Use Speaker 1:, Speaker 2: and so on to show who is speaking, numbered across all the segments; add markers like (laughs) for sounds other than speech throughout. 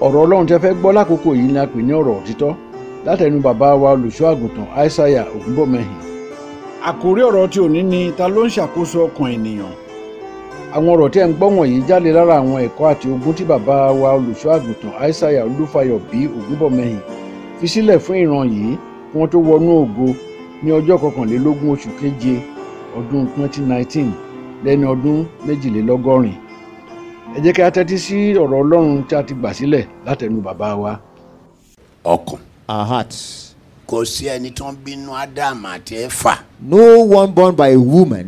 Speaker 1: ọ̀rọ̀ ọlọ́run tẹ́ fẹ́ gbọ́ lákòókò yìí ni a pè ní ọ̀rọ̀ òtítọ́ látẹnu bàbá wa olùṣọ́ àgùntàn aishaiya ògúnbọ̀mẹ́hìn. àkórí ọ̀rọ̀ tí òní ni ta ló ń ṣàkóso ọkàn ènìyàn. àwọn ọ̀rọ̀ tí ẹ̀ ń gbọ́ wọ̀nyí jáde lára àwọn ẹ̀kọ́ àti ogun tí bàbá wa olùṣọ́ àgùntàn aishaiya olúfayọ bí ògúnbọ̀mẹ́hìn fi sílẹ̀ fún ìran yìí kí wọ́n tó wọnú ògo ní ọjọ́ kọkànlélógún oṣù keje ọdún 2019 lẹ́ni ọdún méjìlélọ́gọ́rin ẹ jẹ́ kí a tẹ́tí sí ọ̀rọ̀ ọlọ́run tí a ti gbà sílẹ̀ látẹnu bàbá wa.
Speaker 2: ọkàn
Speaker 3: our hearts.
Speaker 2: kò sí ẹni tó ń bínú ádámù àti ẹfà
Speaker 3: No one born by a woman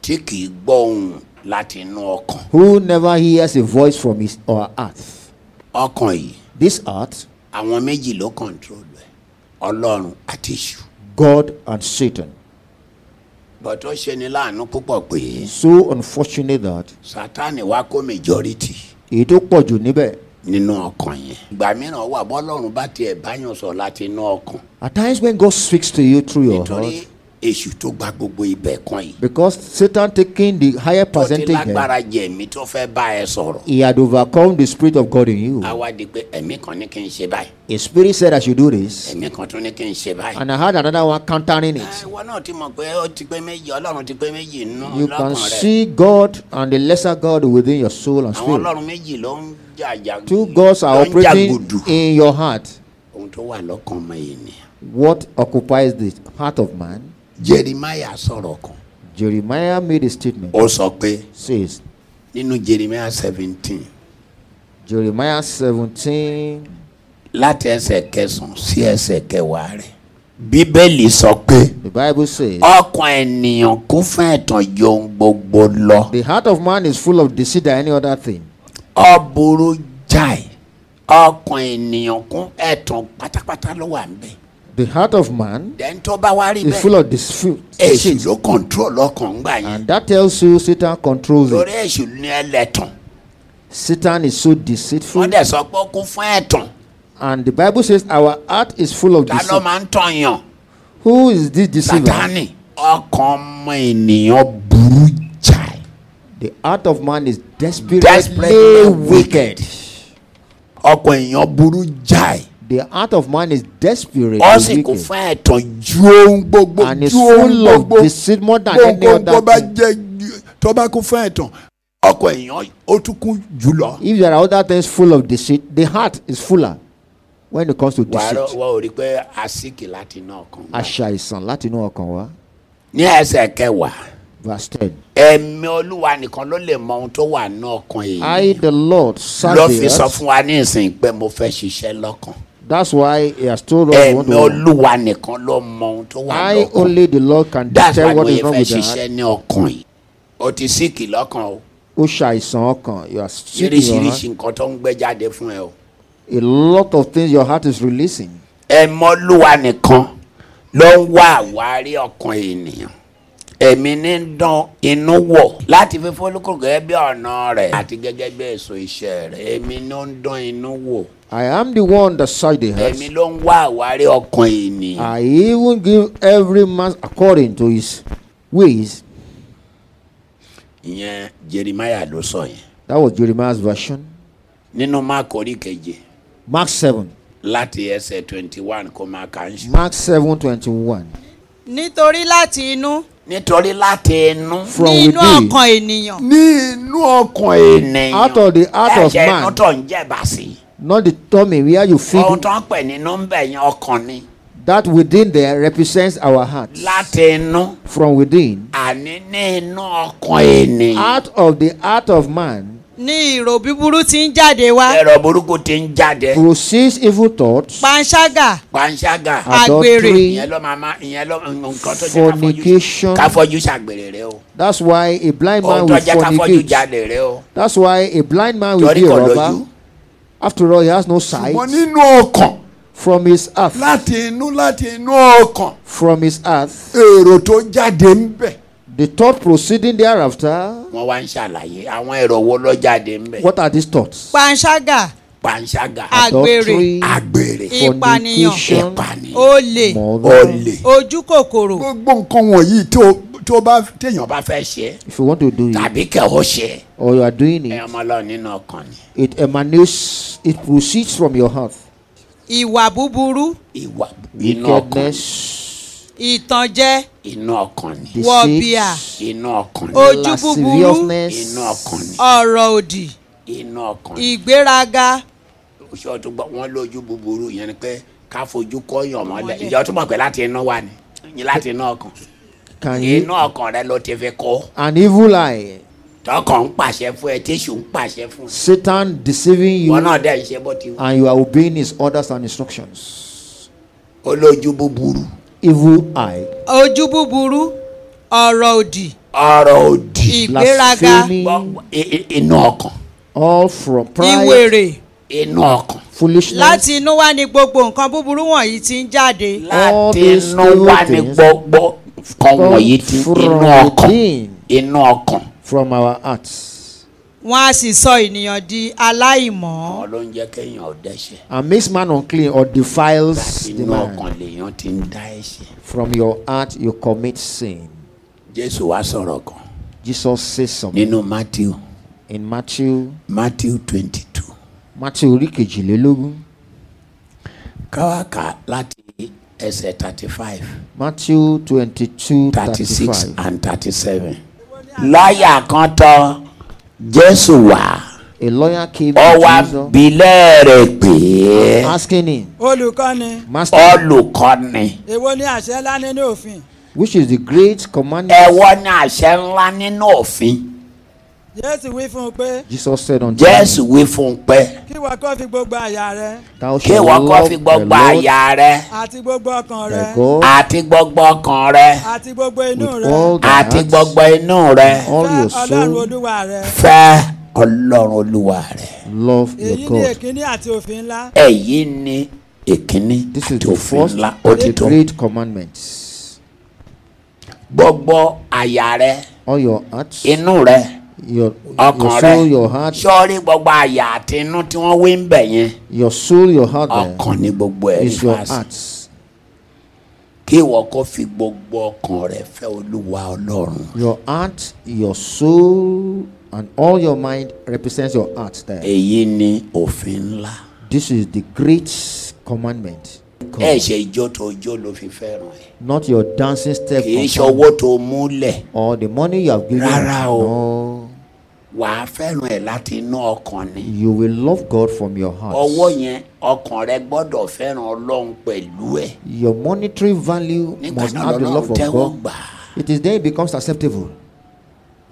Speaker 2: tí kì í gbọ́ ohùn láti inú ọkàn
Speaker 3: who never hears a voice from his or her heart.
Speaker 2: ọkàn yìí
Speaker 3: This heart,
Speaker 2: àwọn méjì ló kọńtrólù ẹ ọlọ́run àti èṣù
Speaker 3: God and Satan.
Speaker 2: bọtọ ṣeni láàánú púpọ̀ pé
Speaker 3: So unfortunate that
Speaker 2: sátani wá kó majority
Speaker 3: èyí tó pọ̀ jù níbẹ̀.
Speaker 2: nínú ọkàn yẹn ìgbà mìíràn wà bọ́lọ́run bá tiẹ̀ báyàn sọ láti inú ọkàn
Speaker 3: At times when God speaks to you through your
Speaker 2: nítorí
Speaker 3: heart,
Speaker 2: èṣù tó gba gbogbo ibẹ̀ kan yìí
Speaker 3: because Satan taking the higher
Speaker 2: tó ti
Speaker 3: percentage, here,
Speaker 2: lágbára jẹ̀mí tó fẹ́ bá ẹ sọ̀rọ̀
Speaker 3: he had overcome the spirit of God in you.
Speaker 2: àwa di pé ẹ̀mí kan ní kí n ṣe báyìí
Speaker 3: A spirit said I should do this,
Speaker 2: ẹ̀mí kan tún ní kí n ṣe báyìí.
Speaker 3: and I had another one countering
Speaker 2: Ẹ,
Speaker 3: it.
Speaker 2: Ah, ìwọ náà ti mọ̀ pé ó ti pé méjì ọlọ́run ti pé méjì nínú
Speaker 3: You can
Speaker 2: lọ́kàn rẹ̀
Speaker 3: see God and the lesser God within your soul and
Speaker 2: àwọn
Speaker 3: spirit.
Speaker 2: ọlọ́run méjì ló ń jàjà
Speaker 3: Two gods are
Speaker 2: ló ń
Speaker 3: operating
Speaker 2: jàgùdù.
Speaker 3: in your heart.
Speaker 2: ohun tó wà lọ́kàn ọmọ ènìyàn.
Speaker 3: What occupies the heart of man?
Speaker 2: Jeremiah sọ̀rọ̀ kan
Speaker 3: Jeremiah made a statement.
Speaker 2: ó sọ pé
Speaker 3: Says
Speaker 2: nínú Jeremiah seventeen
Speaker 3: Jeremiah 17,
Speaker 2: láti ẹsẹ̀ kẹsàn-án sí ẹsẹ̀ kẹwàá rẹ̀ bíbélì sọ pé
Speaker 3: the Bible says,
Speaker 2: ọkàn ènìyàn kún fún ẹ̀tàn ju ohun gbogbo lọ
Speaker 3: The heart of man is full of deceit and any other thing.
Speaker 2: ọ burú jáì ọkàn ènìyàn kún ẹ̀tàn pátápátá ló wà ń bẹ̀
Speaker 3: The heart of man
Speaker 2: dẹ́ńtọ́ bá wá rí
Speaker 3: is
Speaker 2: bẹ́ẹ̀.
Speaker 3: full of deceit.
Speaker 2: èṣù ló control ọkàn gbà yẹn
Speaker 3: And that tells you Satan controls it.
Speaker 2: lórí èṣù ní ẹlẹ́tàn
Speaker 3: Satan is so
Speaker 2: wọ́n
Speaker 3: deceitful.
Speaker 2: dẹ̀ sọ pé ó kún fún ẹ̀tàn
Speaker 3: And the Bible says, Our heart is full of
Speaker 2: ta ló
Speaker 3: deceit.
Speaker 2: máa ń tàn yàn
Speaker 3: Who is this deceiver?
Speaker 2: sátani ọkàn ọmọ ènìyàn burú jáì
Speaker 3: The heart of man is desperately
Speaker 2: Desperately
Speaker 3: wicked.
Speaker 2: ọkàn èèyàn burú jáì
Speaker 3: The heart of man is desperately
Speaker 2: ó sì kún
Speaker 3: wicked.
Speaker 2: fún ẹ̀tàn ju ohun gbogbo
Speaker 3: And is
Speaker 2: ju ohun
Speaker 3: full of
Speaker 2: gbogbo
Speaker 3: deceit more than any
Speaker 2: gbogbo tó
Speaker 3: other
Speaker 2: bá
Speaker 3: thing.
Speaker 2: jẹ́ ju- tó bá kún fún ẹ̀tàn ọkàn èèyàn ó tún kún jùlọ.
Speaker 3: If there are other things full of deceit, the heart is fuller when it comes to
Speaker 2: wàá
Speaker 3: deceit.
Speaker 2: wà ó rí i pé àsìkì láti iná ọkàn gbà.
Speaker 3: Aṣàìsàn láti inú ọkàn wa.
Speaker 2: ní ẹsẹ̀ kẹwàá.
Speaker 3: Verse 10.
Speaker 2: ẹ̀mí olúwa nìkan ló lè mọ ohun tó wà ní ọkàn èyí
Speaker 3: I, the Lord, serve
Speaker 2: ló fi
Speaker 3: the
Speaker 2: sọ
Speaker 3: earth.
Speaker 2: fún wa ní ìsìn pé mo fẹ́ ṣiṣẹ́ lọ́kàn
Speaker 3: That's why he has told us what
Speaker 2: ẹ̀mí
Speaker 3: to do.
Speaker 2: olúwa nìkan ló mọ ohun tó wà
Speaker 3: I,
Speaker 2: lọ́kàn
Speaker 3: only the Lord, can
Speaker 2: that's why
Speaker 3: tell
Speaker 2: mo
Speaker 3: what is
Speaker 2: yẹ
Speaker 3: wrong
Speaker 2: fẹ́
Speaker 3: with the heart.
Speaker 2: ṣiṣẹ́ ní ọkàn yìí o ti síkì lọ́kàn o
Speaker 3: Ó ṣàìsàn ọkàn. You are sick in your heart.
Speaker 2: oríṣiríṣi nǹkan tó ń gbé jáde fún ẹ o
Speaker 3: A lot of things your heart is releasing.
Speaker 2: ẹ̀mí olúwa nìkan ló ń wá àwárí ọkàn ènìyàn ẹ̀mí ní ń dán inú wọ̀ láti fi fólúkù gẹ́gẹ́ bí ọ̀nà rẹ̀ àti gẹ́gẹ́ bí èso iṣẹ́ rẹ̀ ẹ̀mí ló ń dán inú wọ̀.
Speaker 3: I am the one that serve the
Speaker 2: ẹ̀mí
Speaker 3: earth.
Speaker 2: ló ń wá àwárí ọkàn ènìyàn.
Speaker 3: I even give every man according to his ways.
Speaker 2: ìyẹn jeremiah ló sọ yẹn.
Speaker 3: That was Jeremiah's version.
Speaker 2: nínú máàkì orí keje
Speaker 3: Mark 7.
Speaker 2: láti ẹsẹ̀ twenty one kó máa kà ń ṣe.
Speaker 3: Mark 7 21.
Speaker 4: nítorí láti inú
Speaker 2: nítorí láti inú.
Speaker 3: From
Speaker 4: ní inú
Speaker 3: within,
Speaker 4: ọkàn ènìyàn
Speaker 2: ní inú ọkàn ènìyàn.
Speaker 3: Out of the heart of
Speaker 2: ẹ̀jẹ̀
Speaker 3: man.
Speaker 2: inú tó ń jẹ̀bà sí.
Speaker 3: not the tummy where you feed,
Speaker 2: ohun tó ń pè ní nọ́mbà yẹn ọkàn ni.
Speaker 3: that within there represents our heart.
Speaker 2: láti inú
Speaker 3: From within,
Speaker 2: àní ní inú ọkàn ènìyàn.
Speaker 3: out of the heart of man
Speaker 4: ní ìrò búburú tí ń jáde wá
Speaker 2: ẹ̀rọ burúkú ti ń jáde.
Speaker 3: proceeds evil thoughts,
Speaker 4: panṣágà
Speaker 2: panṣágà.
Speaker 3: adultery.
Speaker 2: ìyẹn ló máa ma ìyẹn ló nǹkan tó jẹ́
Speaker 3: Fornication.
Speaker 2: káfọ́jú ṣàgbèrè rẹ o.
Speaker 3: That's why a blind man
Speaker 2: ohun tó
Speaker 3: will
Speaker 2: jẹ́ káfọ́jú
Speaker 3: fornicate.
Speaker 2: jáde rẹ o.
Speaker 3: That's why a blind man will
Speaker 2: torí
Speaker 3: be a
Speaker 2: kò lójú.
Speaker 3: robber. After all, he has no sight.
Speaker 2: ṣùgbọ́n nínú ọkàn
Speaker 3: From his earth,
Speaker 2: láti inú láti inú ọkàn
Speaker 3: from his earth,
Speaker 2: èrò tó jáde ń bẹ̀.
Speaker 3: the thought proceeding thereafter.
Speaker 2: wọ́n wá ń ṣàlàyé àwọn èrò wo ló jáde ń bẹ̀.
Speaker 3: What are these thoughts?
Speaker 4: panṣágà
Speaker 2: panṣágà
Speaker 4: àgbèrè
Speaker 3: Adultery,
Speaker 2: àgbèrè
Speaker 4: ìpànìyàn
Speaker 3: fornication,
Speaker 2: ìpànìyàn
Speaker 4: olè
Speaker 3: murder.
Speaker 2: olè.
Speaker 4: ojú kòkòrò
Speaker 2: gbogbo nǹkan wọ̀nyí tó tó bá téèyàn bá fẹ́ ṣe
Speaker 3: If you want to do it,
Speaker 2: tàbí kẹ́ ó ṣe
Speaker 3: or you are doing
Speaker 2: ẹ
Speaker 3: it,
Speaker 2: ọmọ ọlọ́run nínú ọkàn ni
Speaker 3: it emanates, it proceeds from your heart.
Speaker 4: ìwà búburú
Speaker 2: ìwà inú ọkàn ni.
Speaker 3: Wickedness,
Speaker 4: ìtànjẹ
Speaker 2: inú ọkàn ni
Speaker 4: Wọ̀bìà.
Speaker 3: deceit,
Speaker 2: inú ọkàn ni
Speaker 4: Ojú búburú.
Speaker 3: lasciviousness.
Speaker 2: inú ọkàn ni
Speaker 4: ọ̀rọ̀ òdì
Speaker 2: inú ọkàn ni.
Speaker 4: ìgbéraga
Speaker 2: ṣé o tún gbọ́ wọn lójú búburú yẹn ni pé ká fojú kọ́yàn mọ́lẹ̀ ìjọ tún mọ̀ pé láti inú wa ni ní láti inú ọkàn
Speaker 3: Can
Speaker 2: inú
Speaker 3: you?
Speaker 2: ọkàn rẹ ló ti fi kọ́
Speaker 3: An evil eye.
Speaker 2: tọkàn ń pàṣẹ fún ẹ tíṣù ń pàṣẹ fún ẹ
Speaker 3: Satan deceiving you
Speaker 2: wọn náà dẹ̀ ń ṣe bó ti wù
Speaker 3: and you are obeying his orders and instructions.
Speaker 2: ó lójú búburú
Speaker 3: Evil eye.
Speaker 4: ojú búburú ọ̀rọ̀ òdì
Speaker 2: ọ̀rọ̀ òdì
Speaker 4: ìgbéraga
Speaker 3: Blasphemy.
Speaker 2: Gbọ́- i- i- inú ọkàn
Speaker 3: All from pride,
Speaker 4: ìwèrè
Speaker 2: inú ọkàn
Speaker 3: foolishness.
Speaker 4: láti inú wá ni gbogbo nǹkan búburú wọ̀nyí ti ń jáde
Speaker 3: All
Speaker 2: láti
Speaker 3: these
Speaker 2: inú wa ni
Speaker 3: things
Speaker 2: gbogbo kan
Speaker 3: come
Speaker 2: wọ̀nyí ti
Speaker 3: from
Speaker 2: inú ọkàn
Speaker 3: within.
Speaker 2: inú ọkàn
Speaker 3: from our hearts
Speaker 4: wọ́n á sì sọ ènìyàn di aláìmọ́
Speaker 2: wọn ló ń jẹ́ kéèyàn ó dẹ́ṣẹ̀
Speaker 3: and makes man unclean or defiles the
Speaker 2: inú
Speaker 3: man.
Speaker 2: ọkàn lèèyàn ti ń dá ẹ̀ṣẹ̀
Speaker 3: From your heart you commit sin.
Speaker 2: jésù wá sọ̀rọ̀ kan
Speaker 3: Jesus says something
Speaker 2: nínú matthew
Speaker 3: in Matthew
Speaker 2: matthew twenty two
Speaker 3: Matthew orí kejìlélógún
Speaker 2: káwáká láti ẹsẹ̀ thirty five
Speaker 3: Matthew twenty-two
Speaker 2: thirty six
Speaker 3: thirty-five
Speaker 2: and thirty seven láyà kan tọ̀ jésù wá
Speaker 3: a lawyer came
Speaker 2: ọ
Speaker 3: to
Speaker 2: wá
Speaker 3: Jesus
Speaker 2: bilẹ̀ rẹ̀ pé
Speaker 3: asking him
Speaker 5: olùkọ́ni
Speaker 3: master
Speaker 2: olùkọ́ni
Speaker 5: èwo ni àṣẹ ńlá nínú òfin
Speaker 3: which is the great commandment
Speaker 2: ẹ̀wọ́ ní àṣẹ ńlá nínú òfin
Speaker 5: jésù wí fún un pé
Speaker 3: Jesus said unto
Speaker 2: jésù
Speaker 3: him
Speaker 2: wí fún un pé
Speaker 5: kí wọ́n kọ́ fi gbogbo àyà rẹ
Speaker 3: thou
Speaker 2: kí ìwọ
Speaker 3: shalt
Speaker 2: kọ́ fi
Speaker 3: love the
Speaker 2: gbogbo
Speaker 3: Lord
Speaker 2: àyà rẹ
Speaker 5: àti gbogbo ọkàn rẹ
Speaker 3: thy God
Speaker 2: àti gbogbo ọkàn rẹ
Speaker 5: àti gbogbo inú
Speaker 3: with
Speaker 5: rẹ
Speaker 3: all thy
Speaker 2: àti
Speaker 3: heart
Speaker 2: gbogbo inú rẹ
Speaker 3: all
Speaker 5: fẹ́
Speaker 3: your
Speaker 5: ọlọ́run
Speaker 3: soul
Speaker 5: olúwa rẹ
Speaker 2: fẹ́ ọlọ́run olúwa rẹ.
Speaker 3: love
Speaker 5: èyí
Speaker 3: your
Speaker 5: ni
Speaker 3: God
Speaker 5: èkíní àti òfin ńlá
Speaker 2: èyí ni èkíní
Speaker 3: This is
Speaker 2: àti
Speaker 3: the
Speaker 2: òfin
Speaker 3: first
Speaker 2: ńlá òtítọ́
Speaker 3: great commandment.
Speaker 2: gbogbo àyà rẹ
Speaker 3: all your heart,
Speaker 2: inú rẹ
Speaker 3: your,
Speaker 2: ọkàn
Speaker 3: your
Speaker 2: rẹ
Speaker 3: soul, your heart,
Speaker 2: sọ́ọ́rí gbogbo àyà àti inú tí wọ́n wí ń bẹ̀ yẹn
Speaker 3: your soul, your heart eh, there
Speaker 2: ọkàn ni gbogbo ẹ̀
Speaker 3: is your
Speaker 2: fásitì
Speaker 3: heart.
Speaker 2: kí ìwọ kó fi gbogbo ọkàn rẹ fẹ́ olúwa ọlọ́run
Speaker 3: Your heart, your soul, and all your mind represents your heart there.
Speaker 2: èyí ni òfin ńlá
Speaker 3: This is the great commandment.
Speaker 2: ẹ ṣe ijó tó jó ló fi fẹ́ràn ẹ
Speaker 3: Not your dancing step
Speaker 2: kì í
Speaker 3: of-
Speaker 2: ṣọwọ́ tó múlẹ̀
Speaker 3: or the money you have given.
Speaker 2: Rárá o.
Speaker 3: No,
Speaker 2: wàá fẹ́ràn ẹ láti inú ọkàn ni
Speaker 3: you will love God from your heart.
Speaker 2: ọwọ́ yẹn ọkàn rẹ gbọ́dọ̀ fẹ́ràn ọlọ́run pẹ̀lú ẹ̀
Speaker 3: Your monetary value
Speaker 2: nígbà
Speaker 3: must
Speaker 2: náà
Speaker 3: have the love
Speaker 2: lọ́lọ́run
Speaker 3: of
Speaker 2: tẹ́wọ́
Speaker 3: God.
Speaker 2: gbà á.
Speaker 3: It is then it becomes acceptable.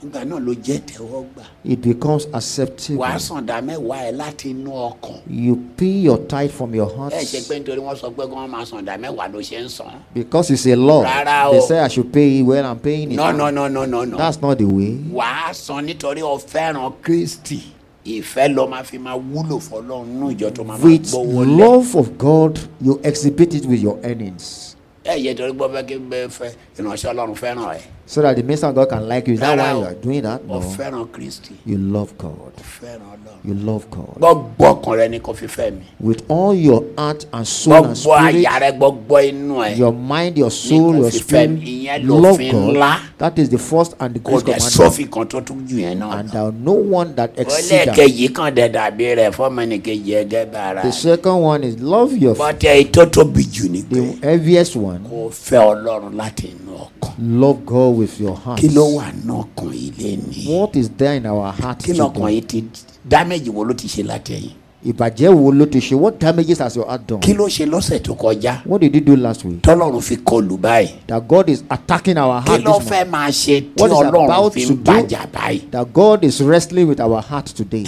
Speaker 2: nígbà náà ló jẹ́ tẹ́wọ́ gbà
Speaker 3: It becomes acceptable.
Speaker 2: wàá sàǹdà mẹ́wàá ẹ láti inú ọkàn
Speaker 3: You pay your tithe from your heart.
Speaker 2: ẹ ṣe pé nítorí wọ́n sọ pé kí wọ́n máa sàǹdà mẹ́wàá ló ṣe ń sàn
Speaker 3: because it's a law.
Speaker 2: Rárá
Speaker 3: They
Speaker 2: o.
Speaker 3: say I should pay it when I'm paying it.
Speaker 2: no no no no no no
Speaker 3: That's not the way.
Speaker 2: wàá san nítorí o fẹ́ràn kristi ìfẹ́ ló máa fi máa wúlò fọlọ́run nínú ìjọ tó máa máa
Speaker 3: With
Speaker 2: gbọ́wọ́ lẹ̀
Speaker 3: love of God, you exhibit it with your earnings.
Speaker 2: ẹ yẹ torí gbọ́ fẹ́ kí n bẹ́ẹ̀ fẹ́ ìránṣẹ́ ọlọ́run fẹ́ràn ẹ
Speaker 3: So that the minister of God can like you. Is that
Speaker 2: Rárá
Speaker 3: why
Speaker 2: o.
Speaker 3: you are doing that?
Speaker 2: o
Speaker 3: No.
Speaker 2: fẹ́ràn kristi
Speaker 3: You love God.
Speaker 2: o fẹ́ràn ọlọ́run
Speaker 3: You love God.
Speaker 2: gbogbo ọkàn rẹ ni kò fi fẹ́ mi
Speaker 3: With all your heart and soul and
Speaker 2: gbogbo àyà
Speaker 3: spirit,
Speaker 2: rẹ gbogbo inú ẹ
Speaker 3: your mind, your soul, your
Speaker 2: fi fẹ́
Speaker 3: spirit,
Speaker 2: mi, ìyẹn
Speaker 3: love
Speaker 2: lòfin ńlá.
Speaker 3: God. That is the first and the
Speaker 2: kò
Speaker 3: great
Speaker 2: dẹ̀
Speaker 3: commandment.
Speaker 2: sọ́ọ̀fì kan tó tún jù yẹn náà
Speaker 3: And there are no one that
Speaker 2: ó
Speaker 3: exceeds that.
Speaker 2: lẹ́ẹ̀kejì kan dẹ̀ dàbí rẹ̀ fọ́mọnìkejì ẹgẹ́ bára
Speaker 3: The second one is love your
Speaker 2: bọ́tẹ́ ètò tóbi jù ní pé
Speaker 3: the heaviest one.
Speaker 2: kò fẹ́ ọlọ́run láti inú ọkàn
Speaker 3: Love God with your heart.
Speaker 2: kí ló wà ní ọkàn yìí lẹ́ni
Speaker 3: What is there in our heart
Speaker 2: kí lọ́kàn
Speaker 3: today?
Speaker 2: yìí ti dámẹ́jì wo ló ti ṣe látẹ̀yìn
Speaker 3: Ìbàjẹ́ wo ló ti ṣe? What damages has your heart done?
Speaker 2: kí ló ṣe lọ́sẹ̀ tó kọjá
Speaker 3: What did you do last week?
Speaker 2: tọ́lọ́run fi kọlù báyìí
Speaker 3: That God is attacking our
Speaker 2: kí
Speaker 3: heart
Speaker 2: ló
Speaker 3: this
Speaker 2: fẹ́
Speaker 3: morning.
Speaker 2: máa ṣe tí
Speaker 3: What is
Speaker 2: ọlọ́run
Speaker 3: about
Speaker 2: fi
Speaker 3: to
Speaker 2: ń
Speaker 3: do?
Speaker 2: bàjá báyìí
Speaker 3: That God is wrestling with our heart today.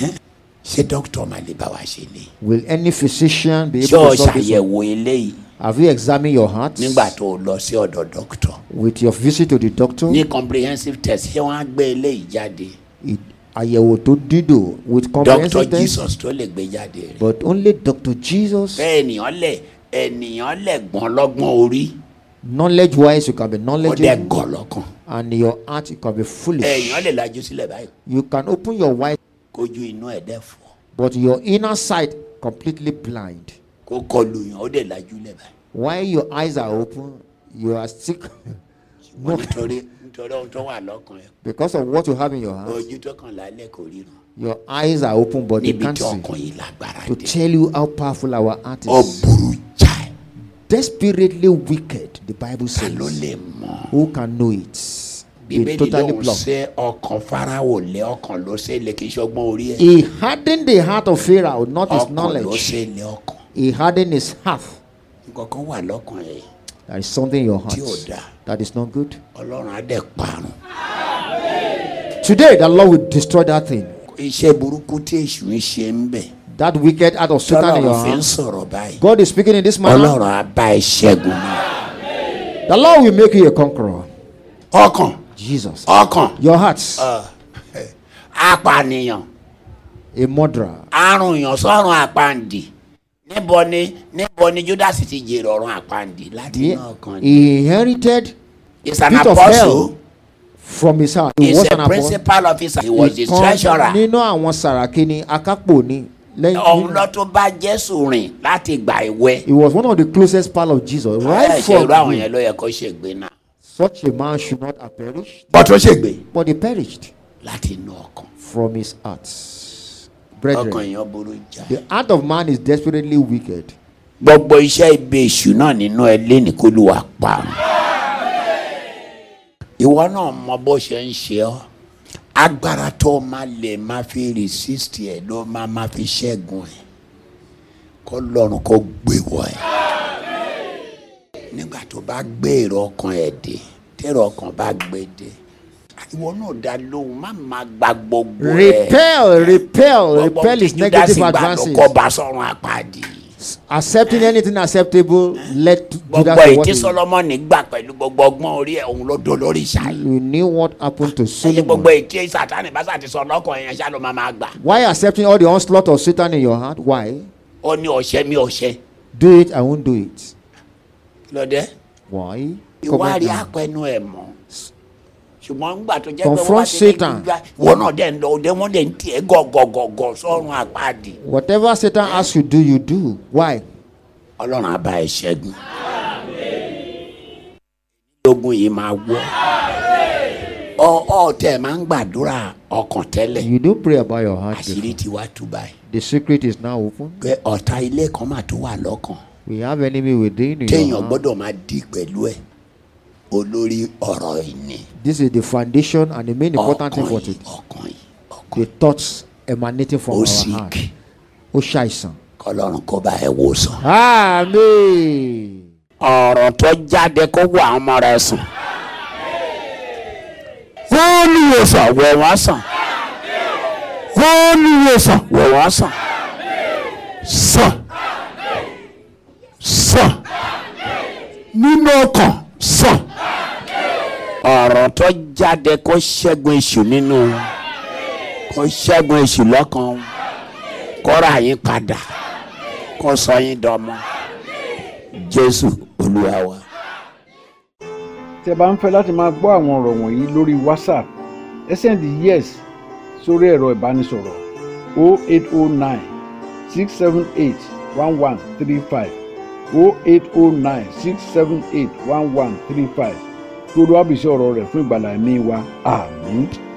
Speaker 2: ṣé dókítà máa lè bá wa ṣe ni
Speaker 3: Will any physician be
Speaker 2: ṣé
Speaker 3: able
Speaker 2: o
Speaker 3: to solve this? one?
Speaker 2: ṣàyẹ̀wò eléyìí
Speaker 3: Have you examined your heart
Speaker 2: nígbà tó o lọ sí ọ̀dọ̀ dókítà
Speaker 3: with your visit to the doctor?
Speaker 2: ní comprehensive test ṣé wọ́n á gbé eléyìí jáde
Speaker 3: It- Àyẹ̀wò tó dídò
Speaker 2: doctor
Speaker 3: with comprehensive test,
Speaker 2: jesus tó lè gbé jáde rẹ̀
Speaker 3: but only Dr. Jesus.
Speaker 2: bẹ́ẹ̀ ènìyàn lẹ̀ ènìyàn lẹ̀ gbọ́n lọ́gbọ́n orí
Speaker 3: Knowledge wise, you can be
Speaker 2: ó dẹ̀
Speaker 3: knowledgeable.
Speaker 2: gàn lọ́kàn
Speaker 3: and your heart you can be foolish.
Speaker 2: èèyàn lè lajú sílẹ̀ báyìí
Speaker 3: You can open your wide,
Speaker 2: kójú inú ẹ̀ dẹ̀ fọ́
Speaker 3: but your inner sight completely blind.
Speaker 2: kó kọlu yàn ó dẹ̀ lajú lẹ̀ báyìí
Speaker 3: While your eyes are open, you are still
Speaker 2: wọn nítorí nítorí ohun tó wà lọ́kàn ẹ
Speaker 3: (laughs) Because of what you have in your hand,
Speaker 2: ojú tó kàn lálẹ́ kò ríran
Speaker 3: your eyes are open, but you
Speaker 2: níbi
Speaker 3: can't
Speaker 2: tí
Speaker 3: see.
Speaker 2: ọkàn yìí lágbára
Speaker 3: To
Speaker 2: dé
Speaker 3: tell you how powerful our heart
Speaker 2: ó
Speaker 3: is.
Speaker 2: burú jáì
Speaker 3: Desperately wicked, the Bible
Speaker 2: ta ló
Speaker 3: says.
Speaker 2: lè mọ̀
Speaker 3: Who can know it? They
Speaker 2: bíbélì
Speaker 3: totally
Speaker 2: lòun
Speaker 3: blocked.
Speaker 2: ṣe ọkàn farao lé ọkàn ló ṣe lé kì í ṣọgbọ́n orí ẹ
Speaker 3: He hardened the heart of Pharaoh, not his
Speaker 2: ọkàn ló
Speaker 3: knowledge.
Speaker 2: ṣe lé ọkàn
Speaker 3: He hardened his heart.
Speaker 2: nǹkan kan wà lọ́kàn ẹ
Speaker 3: There is something in your heart
Speaker 2: Deoda.
Speaker 3: that is not good.
Speaker 2: ọlọ́run á dẹ̀ parun
Speaker 3: Today, the Lord will destroy that thing.
Speaker 2: iṣẹ́ burúkú tí èṣù ń ṣe ń bẹ̀
Speaker 3: That wicked heart of Satan in your
Speaker 2: tọ́lọ́run fi ń
Speaker 3: heart.
Speaker 2: sọ̀rọ̀ báyìí
Speaker 3: God is speaking in this manner.
Speaker 2: ọlọ́run á bá ẹ ṣẹ́gun náà
Speaker 3: The Lord will make you a conqueror.
Speaker 2: ọkàn
Speaker 3: Jesus.
Speaker 2: ọkàn
Speaker 3: Your heart,
Speaker 2: apànìyàn
Speaker 3: a murderer.
Speaker 2: àrùn yàn sọ́run àpàǹdì níbo ni níbo ni judas ti jèrè ọ̀run àpàǹdì láti
Speaker 3: He,
Speaker 2: náà kan ni.
Speaker 3: he inherited
Speaker 2: is an
Speaker 3: bit of
Speaker 2: apostle
Speaker 3: hell from his heart. He
Speaker 2: is
Speaker 3: was
Speaker 2: a
Speaker 3: an apostle.
Speaker 2: principal officer he was the
Speaker 3: Ìkan
Speaker 2: treasurer
Speaker 3: nínú àwọn sàràkí ni akápò ni
Speaker 2: ọ̀hún lọ
Speaker 3: lẹ́yìn.
Speaker 2: tó bá jésù rìn láti gbà ìwé
Speaker 3: He was one of the closest pal of
Speaker 2: Ah,
Speaker 3: Jesus. Right
Speaker 2: ẹ̀ṣẹ̀
Speaker 3: from
Speaker 2: irú àwọn
Speaker 3: him,
Speaker 2: yẹn ló yẹ kó ṣègbè náà.
Speaker 3: such a man should not have perished,
Speaker 2: bọ́tún ṣègbè
Speaker 3: but he perished
Speaker 2: láti inú ọkàn
Speaker 3: from his heart.
Speaker 2: ọkàn
Speaker 3: Brethren,
Speaker 2: èèyàn burú jà.
Speaker 3: the heart of man is desperately wicked.
Speaker 2: gbogbo iṣẹ́ ibi èṣù náà nínú ẹ lẹ́ni kó lù wá pa. ìwọ náà mọ bó ṣe ń ṣe ọ́ agbára tó o máa lè máa fi resist ẹ̀ ló máa máa fi ṣẹ́gun ẹ̀ kó lọ́run kó gbé wọ ẹ̀. nígbà tó bá gbé èrò ọkàn ẹ̀ dé tèrò ọkàn bá gbé dé ìwọ náà dá lóhùn má máa gba gbogbo ẹ̀.
Speaker 3: Repel, repel,
Speaker 2: Gbogbo
Speaker 3: repel his
Speaker 2: tí Judas
Speaker 3: negative
Speaker 2: gbà ló
Speaker 3: advances.
Speaker 2: kó bá sọ́run àpáàdì
Speaker 3: Accepting anything acceptable, let Judas
Speaker 2: gbogbo
Speaker 3: do
Speaker 2: ètí
Speaker 3: what he
Speaker 2: solomoni gbà pẹ̀lú gbogbo ọgbọ́n orí ẹ̀ òun ló dó lórí ìṣáyé
Speaker 3: You knew what happened to
Speaker 2: ẹ̀yìn gbogbo
Speaker 3: Mm-hmm. Solomon.
Speaker 2: ètí sátani bá sá ti sọ lọ́kàn èèyàn ṣá ló máa máa gbà
Speaker 3: Why accepting all the onslaught of Satan in your heart? Why?
Speaker 2: ó ní ọ̀ṣẹ́ mi ọ̀ṣẹ́
Speaker 3: Do it, I won't do it.
Speaker 2: lọ́dẹ́
Speaker 3: Why? Comment
Speaker 2: ìwádìí
Speaker 3: now.
Speaker 2: apẹnu ẹ̀ mọ́ ṣùgbọ́n ńgbà tó jẹ́ pé
Speaker 3: Confront
Speaker 2: wọ́n ti
Speaker 3: Satan.
Speaker 2: gbígbá wọn náà dẹ̀ ń lọ òde wọn dẹ̀ ń tiẹ̀ gọ̀gọ̀gọ̀gọ̀ sọ́run àpáàdì
Speaker 3: Whatever Satan asks you do, you do. Why?
Speaker 2: ọlọ́run á bá ẹ ṣẹ́gun ogun yìí máa wọ́ ọ ọ tẹ̀ máa ń gbàdúrà ọkàn tẹ́lẹ̀
Speaker 3: You don't pray about your heart.
Speaker 2: àṣírí ti wá tú báyìí.
Speaker 3: The secret is now open.
Speaker 2: pé ọ̀tá ilé kan mà tó wà lọ́kàn
Speaker 3: We have enemy within you.
Speaker 2: téèyàn gbọ́dọ̀ máa dì pẹ̀lú ẹ̀ olórí ọ̀rọ̀ ìní
Speaker 3: This is the foundation and the main important
Speaker 2: ọkàn
Speaker 3: thing for
Speaker 2: yìí
Speaker 3: today.
Speaker 2: ọkàn yìí ọkàn
Speaker 3: The thoughts emanating from
Speaker 2: ó
Speaker 3: our
Speaker 2: sì
Speaker 3: heart.
Speaker 2: kì
Speaker 3: Ó ṣàìsàn.
Speaker 2: kọlọ́run kó bá ẹ wò sàn.
Speaker 3: Amen.
Speaker 2: ọ̀rọ̀ tó jáde kó wọ àwọn ọmọ rẹ sàn olùwòsàn wọ̀ wọ́n sàn olùwòsàn wọ̀ wọ́n sàn sàn sàn nínú ọkàn sàn ọ̀rọ̀ tó jáde kó ṣẹ́gun èṣù nínú wọn, kó ṣẹ́gun èṣù lọ́kàn wọn, kó ra yín padà kó sọ yín dọmọ jésù olúwa wa.
Speaker 1: tí ẹ bá ń fẹ́ láti máa gbọ́ àwọn ọ̀rọ̀ wọ̀nyí lórí whatsapp ẹ sẹ́ndì yes sórí ẹ̀rọ ìbánisọ̀rọ̀ 0809 678 1135 0809 678 1135 tó lọ́wọ́ àbísí ọ̀rọ̀ rẹ̀ fún ìgbàlá ẹ̀mí wa àmín.